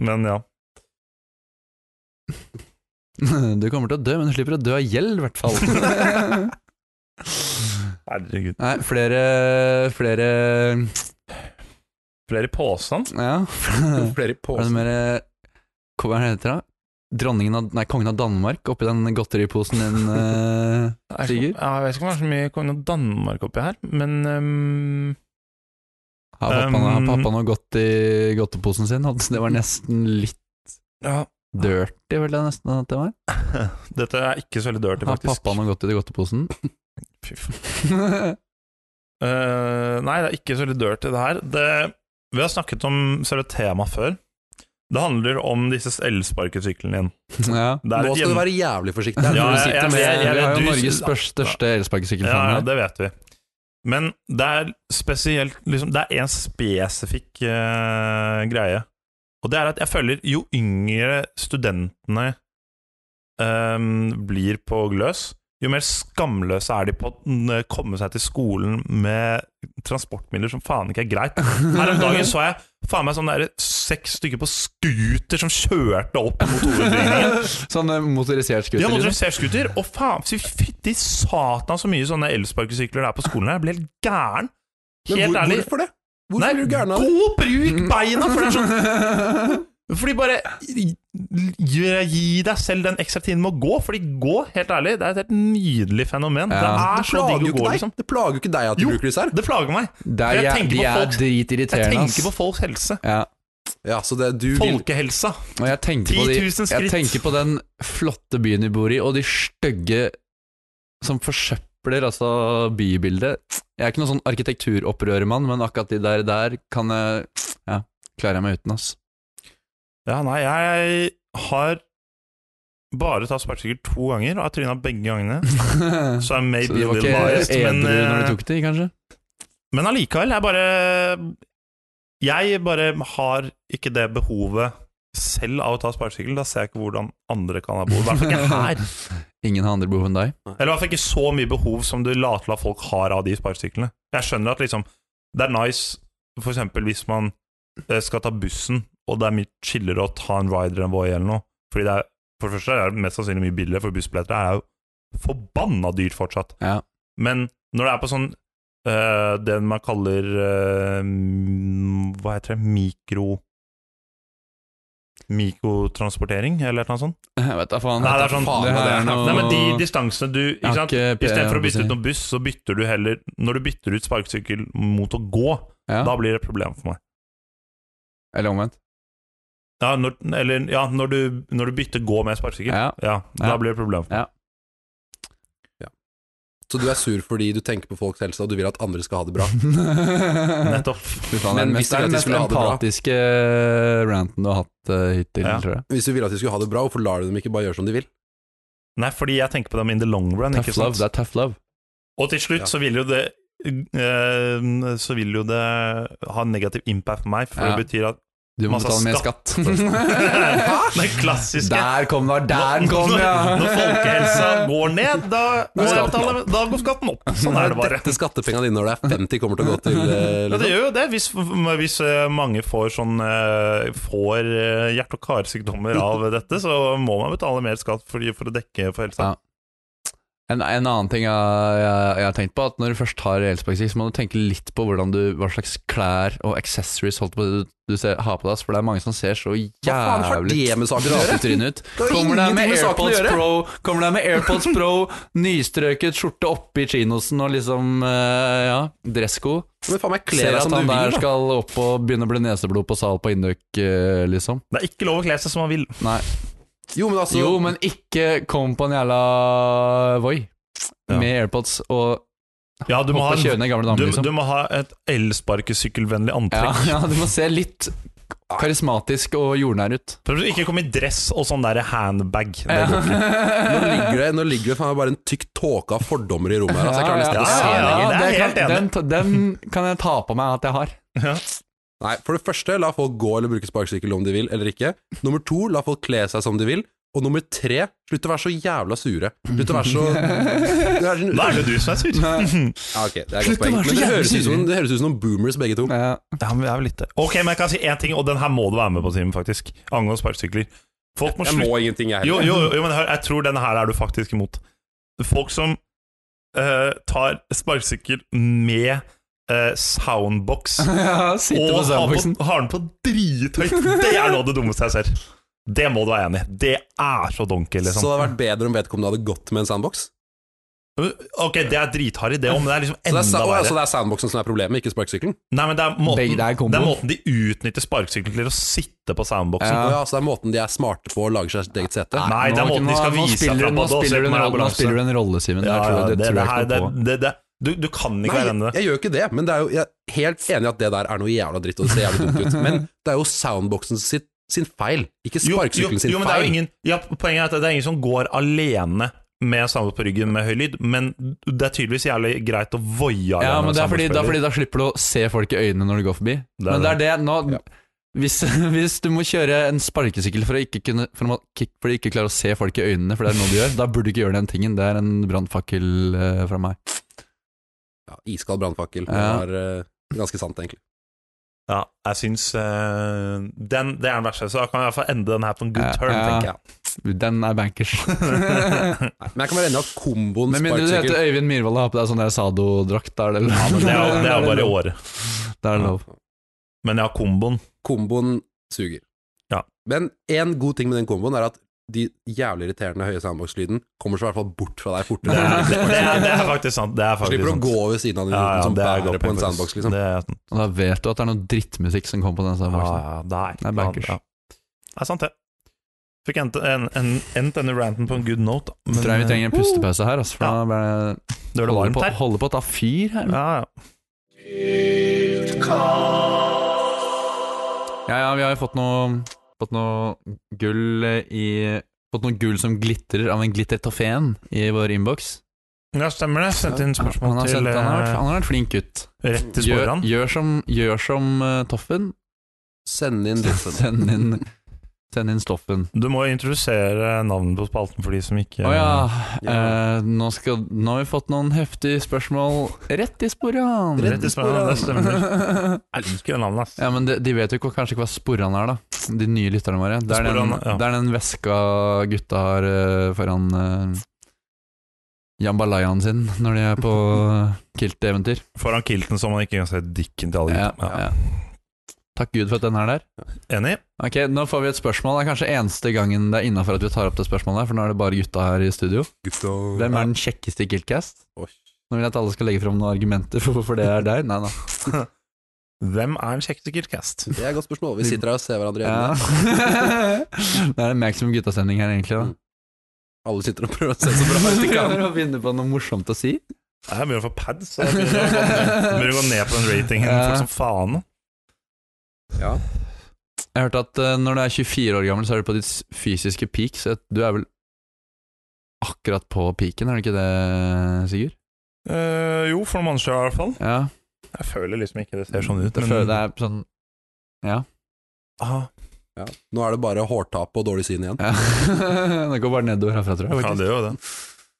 Men ja.
Du kommer til å dø, men du slipper å dø av gjeld, i hvert fall.
Herregud.
Nei, flere Flere
Flere påstand?
Ja.
sant.
Er
Flere i
det
påsen.
mer Hva er det heter da? Dronningen av Nei, kongen av Danmark oppi den godteriposen din, eh,
Jeg vet
Sigurd?
ikke om- ja, jeg vet ikke om det er så mye kongen av Danmark oppi her, men ehm, øhm,
Har pappa, har
Um,
pappa noe godt i godteposen sin? Hadde- Det var nesten litt
ja.
dirty, vel det nesten at det var.
Dette er ikke så veldig dirty,
Har
faktisk.
pappa noe godt i godteposen?
Fy faen. Eh, nei, det er ikke så veldig dirty, det her. Det, vi har snakket om selve temaet før. Det handler om disse elsparkesyklene igjen.
ja.
Det er
Nå
et
skal du
hjem-
være jævlig forsiktig. her,
Ja,
for du
jeg-
sitter
jeg-
med-
jeg- jeg-
Vi har jo
du-
Norges størst- største
ja, ja,
elsparkesykkelfan her.
det vet vi. Men det er spesielt liksom, Det er én spesifikk eh, greie. Og det er at jeg føler jo yngre studentene ehm, blir på gløs, jo mer skamløse er de på å n- komme seg til skolen med transportmidler som faen ikke er greit. Her om dagen så jeg faen meg sånne der seks stykker på scooter som kjørte opp mot hovedbygningen.
Sånn eh, motorisert
De
scooter.
har
liksom.
motorisert scooter, og faen, fy fytti satan så mye sånne elsparkesykler det er på skolen her. Jeg blir helt gæren.
Men
Helt
hvor,
ærlig.
hvorfor det? Hvorfor
Nei,
blir du gæren av det?
Gå og bruk beina!
liksom.
For det er sånn Fordi bare gi, gi deg selv den ekstra tiden med å gå, fordi gå, helt ærlig, det er et helt nydelig fenomen.
Ja.
Det
Det
er så
plager
digg
jo
å gå,
ikke
liksom.
deg. Det plager jo ikke deg at du
Jo.
bruker disse her.
Det plager meg.
Det er,
Jeg
jæ-
tenker
de
på
er
folk- Jeg
dritirriterende, ass.
tenker på folks helse.
Ja.
Ja, så det, du vil
Folkehelsa.
Og jeg tenker, på
10 000
de,
skritt.
jeg tenker på den flotte byen vi bor i, og de stygge som forsøpler altså bybildet. Jeg er ikke noen sånn arkitekturopprørermann, men akkurat de der, der kan jeg Ja, klarer jeg meg uten, ass.
Ja, nei, jeg har bare tatt sparkesykkel to ganger, og har tryna begge gangene. Så jeg may
Så
be
du
a
var
little
ikke
biased,
edru
men,
når
eh,
du tok de, kanskje?
men allikevel, jeg bare Jeg bare har ikke det behovet selv av å ta sparkesykkel. Da ser jeg ikke hvordan andre kan ha behov. I hvert fall ikke her.
Ingen har andre behov enn deg.
Eller i hvert fall ikke så mye behov som du later til at folk har av de sparkesyklene. Jeg skjønner at liksom det er nice, for eksempel hvis man eh, skal ta bussen, og det er mye chillere å ta en rider enn Voi eller noe. Fordi det er, for det første er det mest sannsynlig mye billigere, for bussbilletter er jo forbanna dyrt fortsatt.
Ja.
Men når det er på sånn eh, den man kaller eh, mm, Hva heter det? Mikro... Mikrotransportering, eller noe sånt?
Jeg vet da faen.
Nei,
vet
det er
da
sånn
faen, det er noe...
Nei, men de distansene du
Jeg
ikke
har
sant?
ikke P-
Istedenfor å
Eh, jeg holdt på å
bytte ut
si.
noen buss, så bytter du heller Når du bytter ut sparkesykkel mot å gå,
Ja.
da blir det et problem for meg.
Eller omvendt.
Ja, når, eller ja, når du, når du bytter gå med sparkesykkel, ja.
Ja.
da
Ja.
blir det et problem for meg.
Ja.
Så du er sur fordi du tenker på folks helse, og du vil at andre skal ha det bra.
Nettopp.
Nettopp.
Fy faen, det er
Men
den
hvis
mest,
du
det er
vet
den
de
mest
skulle ha det bra.
empatiske ranten du har hatt eh, hittil,
Ja.
tror jeg.
Hvis du ville at de skulle ha det bra, hvorfor lar du dem ikke bare gjøre som de vil?
Nei, fordi jeg tenker på dem in the long run,
Tough
ikke
love,
sant.
det er tough love.
Og til slutt
Ja.
så vil jo det eh, så vil jo det ha en negativ impact på meg, for
Ja.
det betyr at
Du må
Masse
betale mer skatt. Hæ?
Den klassiske
der kom den, der kom den,
Når, når folkehelsa
ja!
går ned, da, må jeg
skatten
betale, da går skatten opp. Sånn er det bare.
Dette skattepengene dine når det er 50 kommer til å gå til eh,
Ja, det gjør jo
sånn?
det. Hvis, hvis eh, mange får, sånn, eh, får eh, hjerte- og karsykdommer av dette, så må man betale mer skatt for, for å dekke for helsa.
Ja. En, en annen ting jeg, jeg, jeg har tenkt på, at når du først har elsparkesykkel, så må du tenke litt på hvordan du, hva slags klær og accessories holdt på, du, du ser, har på deg. For det er mange som ser så
Hva faen har
jævlig
det med saken å gjøre?
drapetrynet ut.
har
Kommer deg med
ingenting med saken å
AirPods
gjøre.
Pro, kommer deg med AirPods Pro nystrøket skjorte oppi chinosen og liksom, eh, ja, dressko.
Men faen meg, kle
Ser
deg
at
som du
han
vil,
der
da.
skal opp og begynne å bli neseblod på sal på Indøk, eh, liksom.
Det er ikke lov å kle seg som man vil.
Nei.
Jo, men altså
Jo, men ikke kom på en jævla Voi
Ja.
med AirPods og
Ja, du må
hoppe
ha,
og kjøre ned gamle
du,
damer, liksom.
du må ha et elsparkesykkelvennlig
ja,
antrekk.
ja, du må se litt karismatisk og jordnær ut.
For eksempel Ikke kom i dress og sånn der handbag. Det
Ja.
går ikke.
Nå ligger det, nå ligger det faen meg bare en tykk tåke av fordommer i rommet her. Altså, jeg klarer nesten ikke å se
Ja, ja, ja,
lenger.
det er
det
helt
kan-
enig.
Den, ta- den kan jeg ta på meg at jeg har.
Ja.
Nei, for det første, la folk gå eller bruke sparkesykkel om de vil eller ikke. Nummer to, la folk kle seg som de vil. Og nummer tre, slutt å være så jævla sure. Slutt å være så Det er sånn-
Da er det du som er sur.
Ja, ok, det er et
Slutt å være
godt poeng.
så
Men det
jævlig
høres, ut som,
sure.
det høres ut som noen boomers, begge to.
Ja.
Ja, men det er vel litt det. Ok, men jeg kan si én ting, og den her må du være med på, Simen, faktisk. Angående sparkesykler. Folk må
Jeg
slutte
må ingenting, jeg
jo,
heller.
jo, jo, men hør, jeg tror denne her er du faktisk imot. Folk som eh, tar sparkesykkel med eh, soundbox og
Ja, sitte på
har, på,
soundboxen.
har den på drithøyt, det er noe av det dummeste jeg ser. Det må du være enig i. Det er så donkey,
Så det
liksom.
hadde vært bedre om vedkommende hadde gått med en sandbox?
Ok, det er dritharry, det òg, men det er liksom
Så det er, sa
enda
Å, ja, så
verre.
det er sandboxen som er problemet, ikke sparkesykkelen?
Nei, men det er
Begge
måten,
der kombo.
det er måten de utnytter sparkesykkelen til å sitte på soundboxen.
Å, ja, så det er måten de er smarte på å lage seg sitt eget sete?
Nei, det er
Nå-
måten de
nå-
skal
nå
vise
spiller-
fram på
Nå
det, og se
spiller du en
på
rolle, nå
ambulanse.
spiller du en rolle, Simen. Det
Ja,
tror
ja,
jeg-
det,
det tror jeg
det, her-
ikke
det,
noe på.
det, det, du, du kan ikke være enig i det.
Nei, jeg gjør ikke det, men det er jo, jeg er helt enig i at det der er noe jævla dritt, og det ser jævlig dumt ut. Men det er jo soundboxen sitt, sin feil, ikke
Jo,
sparkesykkelen sin
jo, jo, men det er
feil.
jo ingen, ja, Poenget er at det er ingen som går alene med samboer på ryggen med høy lyd, men det er tydeligvis jævlig greit å voie alene.
Ja, men
med
det er fordi, det er
samboerspiller.
fordi da slipper du å se folk i øynene når du går forbi. men det er det nå hvis, hvis du må kjøre en sparkesykkel for å ikke kunne for å, for å ikke klare å se folk i øynene, for det er noe du gjør, da burde du ikke gjøre den tingen. Det er en brannfakkel eh, fra meg.
Ja, iskald brannfakkel. Det
Ja.
er eh, ganske sant, egentlig.
Ja, jeg syns eh, den, Det er den verste, så da kan vi i hvert fall ende den her på en good
Ja,
turn,
ja.
tenker jeg.
Den er bankers.
Nei, men jeg kan være enig i at komboen
Med mindre du heter
sparkesykkel
Øyvind Myhrvold og har på deg sånn der Sado-drakt, da er det lov.
Ja, men det er, det er jo bare i
lov.
året.
Da er det lov.
Men ja, komboen.
Komboen suger.
Ja.
Men en god ting med den komboen er at de jævlig irriterende høye soundbox-lyden kommer seg i hvert fall bort fra deg
Det
fortere.
er, det, det er, det er faktisk sant. Det er
Du
faktisk
slipper å
liksom.
sant.
gå ved siden av den
Ja, ja,
som
det er godt
bærer på en
poeng, faktisk.
soundbox, liksom.
Det er sant.
Og da vet du at det er noe drittmusikk som kommer på den
Ja,
Sado-boksen.
ja, det er,
Det er bankers.
Ja. Det er sant, det. Fikk endt en, en, endt denne ranten på en good note. da. Men,
Tror jeg vi trenger en pustepause her, altså, for da
Ja.
ble-
Det gjør det
holder på,
varmt her.
holder på å ta fyr her.
Ja, ja.
Ja, ja, vi har jo fått noe, fått noe gull i fått noe gull som glitrer av en glittertofen i vår innboks.
Ja, stemmer det. Sendte inn
Han,
spørsmål
har
til
sendt- han, har vært-
eh,
han har vært flink gutt.
Rett til
Gjør,
sporene.
gjør som, gjør som eh, Toffen.
Send inn ditt. Send.
Send inn, send inn Stoffen.
Du må introdusere navnet på spalten for de som ikke
Å ja,
Ja.
eh, nå, skal, nå har vi fått noen heftige spørmål rett i sporene.
Rett i sporene, det stemmer. Jeg liker det navnet, ass.
Ja, men de, de vet jo ikke, kanskje ikke hva sporene er, da. De nye lytterne våre. Det er den,
Sporene, ja.
det er den veska gutta har eh, foran uh, jambalayaen sin når de er på uh, kilteventyr.
Foran kilten så man ikke engang ser dikken til alle
Ja,
guttene.
ja. Takk Gud for at den er der.
Ja. Enig?
Ok, Nå får vi et spørsmål. Det er kanskje eneste gangen det er innafor at vi tar opp det spørsmålet, her, for nå er det bare gutta her i studio.
Gutta.
Hvem er den kjekkeste i Kiltcast?
Oi.
Nå vil jeg at alle skal legge fram noen argumenter for hvorfor det er deg. Nei da.
Hvem er den kjekkeste Kiltcast?
Det er et godt spørsmål. Vi sitter her og ser hverandre i
Ja.
øynene.
det er en maximum guttastemning her, egentlig. da
Alle sitter og prøver å se så bra ut de kan.
å finne på noe morsomt å si.
Jeg begynner å få pads. så Jeg begynner å gå ned- begynner å gå ned på den ratingen
Ja.
fort som faen.
Ja.
Jeg hørte at eh, når du er 24 år gammel, så er du på ditt s- fysiske peak. Så du er vel akkurat på peaken, er du ikke det, Sigurd?
Eh, jo, for noen mennesker i hvert fall.
Ja.
Jeg føler liksom ikke det ser sånn ut.
Det, føler, det er sånn
Ah,
Ja. Nå er det bare hårtap og dårlig syn igjen.
ja. Det går bare nedover herfra, tror jeg.
ja, det gjør jo det.
Mm.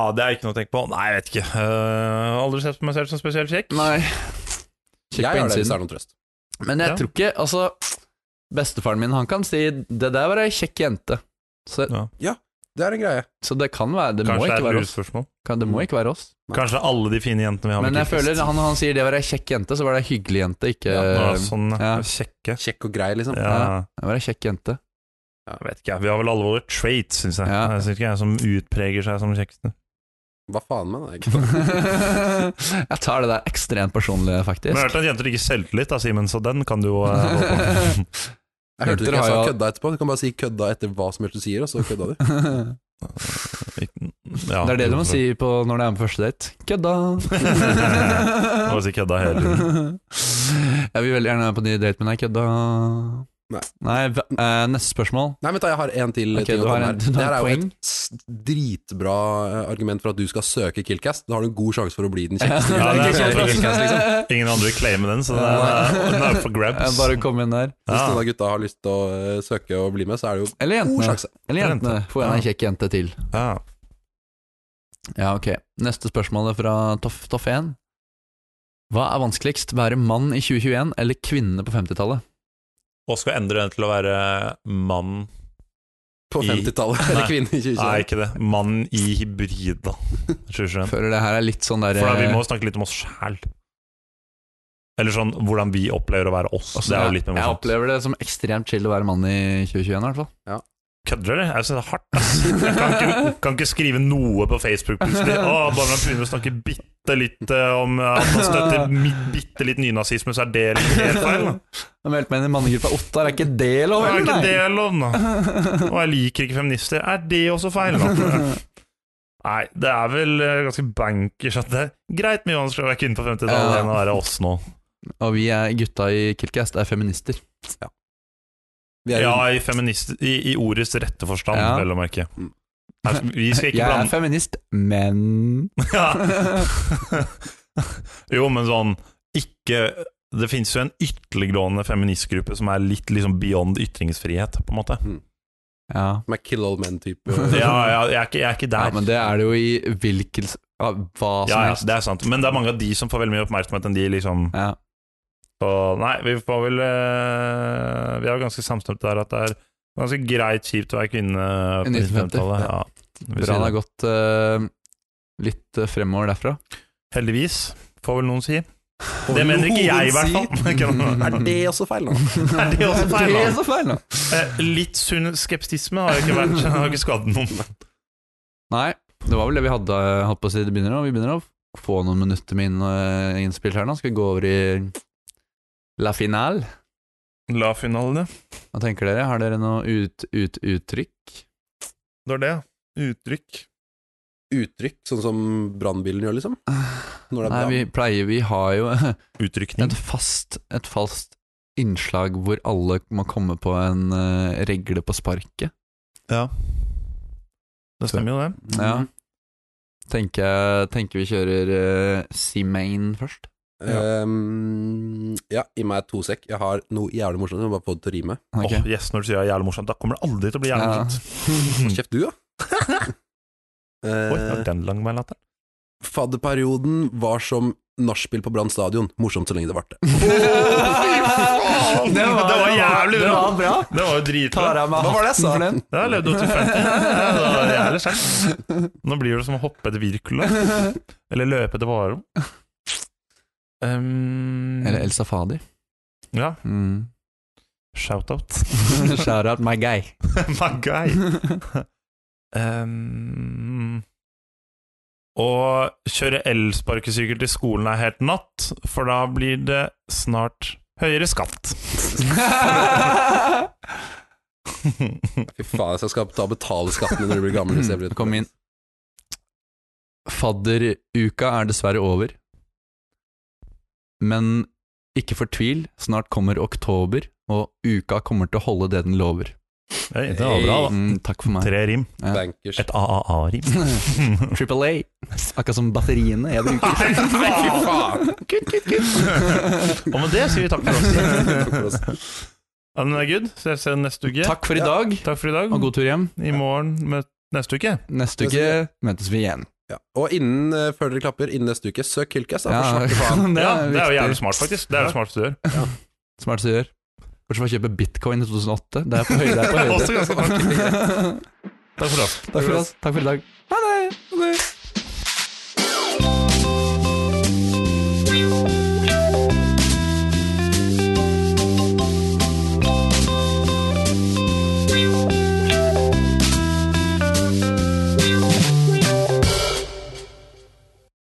Ah, det er ikke noe å tenke på. Nei, jeg vet ikke. Eh, aldri sett på meg selv som spesielt kjekk.
Nei.
Jeg
Kikk på
gjør det hvis det
innsiden.
er noen trøst.
Men jeg
Ja.
tror ikke Altså, bestefaren min, han kan si 'det der var ei kjekk jente'. Så,
Det er en greie.
så det kan være Det må
Kanskje det
ikke
er et
være oss.
lurespørsmål.
Kan, det må ikke være oss.
Kanskje det er alle de fine jentene vi har
Men jeg føler
Kiltcast.
han, han sier 'det var ei kjekk jente', så var det ei hyggelig jente, ikke
Ja,
Nå er det sånn
Ja.
kjekke.
Kjekk og grei, liksom.
Ja.
Det var ei kjekk jente.
Jeg vet ikke, jeg. vi har vel alle våre traits, syns jeg.
Ja.
Jeg synes ikke jeg som utpreger seg som kjekkeste.
Hva faen med det?
jeg tar det der ekstremt personlig,
Men jeg har
faktisk.
hørt at jenter ikke selvtillit, da, Simen, så den kan du jo eh, holde på.
Jeg hørte
Jenter
ikke jeg
har
sa
jo-
kødda etterpå. Du kan bare si kødda etter hva som helst du sier, og så kødda du.
det
Ja,
er det du må si på når du er med på første date. Kødda!
Du må si kødda hele tiden.
jeg vil veldig gjerne være på ny date, men jeg kødda.
Nei.
hva- eh, neste spørsmål.
Nei, vent da, jeg har en til.
Ok,
ting å
du har
komme
en-
med
du har
her. Det her er jo
poeng.
et s- dritbra eh, argument for at du skal søke Killcast. Da har du en god sjanse for å bli den kjekkeste.
Ja, det er
gutten.
sant, det er
Killcast, liksom.
Ingen andre vil claime den, så den er, den er for grabs.
Jeg bare kom inn der.
Hvis
Ja.
noen av gutta har lyst til å eh, søke og bli med, så er det jo
Eller
god
jentene.
sjanse.
Eller jentene. Få en kjekk jente til.
Ja.
Ja, ok. Neste spørsmål er fra Toff, Toff 1. Hva er vanskeligst, være mann i 2021 eller kvinne på 50-tallet?
Og skal endre den til å være mann
På
I-
50-tallet.
Nei.
Eller kvinne i
Nei,
2021.
ikke det. Mann i hybrid, da. Skjønner du?
Føler det her er litt sånn derre
For da, vi må snakke litt om oss sjæl. Eller sånn hvordan vi opplever å være oss. Det er jo litt
eh, Altså,
mer
Jeg
morsomt.
opplever det som ekstremt chill å være mann i 2021, i hvert fall.
Kødder dere? Jeg synes det er hardt. Ass. Jeg kan ikke, kan ikke skrive noe på Facebook plutselig. Å, bare man begynner å snakke bitte litt eh, om eh, at man støtter mi- bitte litt nynazisme, så er det litt helt feil. da.
Jeg meldte meg inn i mannegruppa Ottar, er ikke det lov,
Det er ikke
eller?
det lov, da. Og jeg liker ikke feminister. Er det også feil? Da? Nei, det er vel eh, ganske bankers at det er greit mye vanskeligere å være kvinne på 50-tallet enn å være oss nå.
Og vi er gutta i Kiltcast er feminister.
Vi er
Ja,
jo
i, feminist, i, i ordets rette forstand,
Ja.
vel å merke.
Mm.
Her skal- Vi skal
Jeg
ikke blande
er feminist, men
Ja. jo, men sånn Ikke Det finnes jo en ytterliggående feministgruppe som er litt liksom beyond ytringsfrihet, på en måte.
Ja.
hmm, som er kill all men-type.
Ja, ja, jeg, er ikke, jeg er ikke
ja,
der.
men det er det jo i hvilken ja, Hva som
ja, ja,
helst.
det er sant. Men det er mange av de som får veldig mye oppmerksomhet enn de, liksom.
Ja.
Så nei, vi får vel eh, Vi er jo ganske samstemte der at det er ganske greit kjipt å være kvinne
I
på
1950,
1950-tallet. Ja. vi
Bra
sier
det
det.
har gått eh, litt eh, fremover derfra.
Heldigvis, får vel noen si. Det mener ikke jeg, i hvert fall. Ikke noe.
Er det også feil, da?
Er det også feil?
Det
da?
er så feil, da!
Eh, Litt sunn skeptisisme har jo ikke vært Har ikke skadet noen.
Nei, det var vel det vi hadde hatt på å si. Det begynner nå. Vi begynner å få noen minutter med inn, eh, innspill her nå. Skal vi gå over i la finale?
La finale, det.
Hva tenker dere? Har dere noe ut, ut, uttrykk?
Det var det. Uttrykk.
Uttrykk, sånn som brannbilen gjør, liksom? Når
Nei,
det er brann.
vi pleier Vi har jo et
Utrykning.
fast, et fast innslag hvor alle må komme på en eh, regle på sparket.
Ja. Det stemmer jo, det.
Ja. Tenker, tenker vi kjører eh, Seamain først.
Ehm, ja, gi meg to sekk. Jeg har noe jævlig morsomt. Jeg må bare få det til å rime.
Åh,
Ok.
yes, når du sier det er jævlig morsomt, da kommer det aldri til å bli jævlig
Ja.
morsomt.
Kjeft du, da.
Oi, var
Eh,
den lang meg latter?
fadderperioden var som nachspiel på Brann stadion. Morsomt så lenge det varte.
faen! Det var jævlig
det
bra.
var bra.
Det var jo
Tar
dritbra.
jeg meg
Hva var det jeg
hatten
sa?
for den?
Det har jeg levd opp til 50. Det var jævlig sterkt. Nå blir det som å hoppe etter Wirkola. Eller løpe etter Varum. Um,
Eller El Safadi.
Ja,
Mm.
shout-out.
Shout out my guy.
My guy. Um, å kjøre elsparkesykkel til skolen er helt natt, for da blir det snart høyere skatt.
Fy faen, jeg skal ta og betale skatten når du blir gammel. hvis jeg blir-
Kom inn. Fadderuka er dessverre over. Men ikke fortvil, snart kommer oktober, og uka kommer til å holde det den lover.
Hey, det var bra, da.
Mm, takk for meg.
Tre rim.
Ja.
Bankers.
Et AAA-rim.
Triple A. Akkurat som batteriene jeg bruker.
Kutt, kutt, kutt. Og med det sier vi takk for oss.
Takk for oss.
Ja, men det er good. Ses igjen neste uke.
Takk for i dag,
Takk for i dag.
og god tur hjem.
I morgen med neste uke.
Neste uke møtes vi igjen.
Ja. Og innen, eh, før dere klapper, innen neste uke, søk Hillcast. da, for svarte faen.
det
Ja, det er jo
viktig.
jævlig smart, faktisk. Det er jo smart du gjør.
Smart som gjør. Bortsett fra å kjøpe bitcoin i 2008. Det er på høyde. Det er på
Det er
høyde.
også ganske smart. Takk for oss.
Takk for oss. Takk for i dag.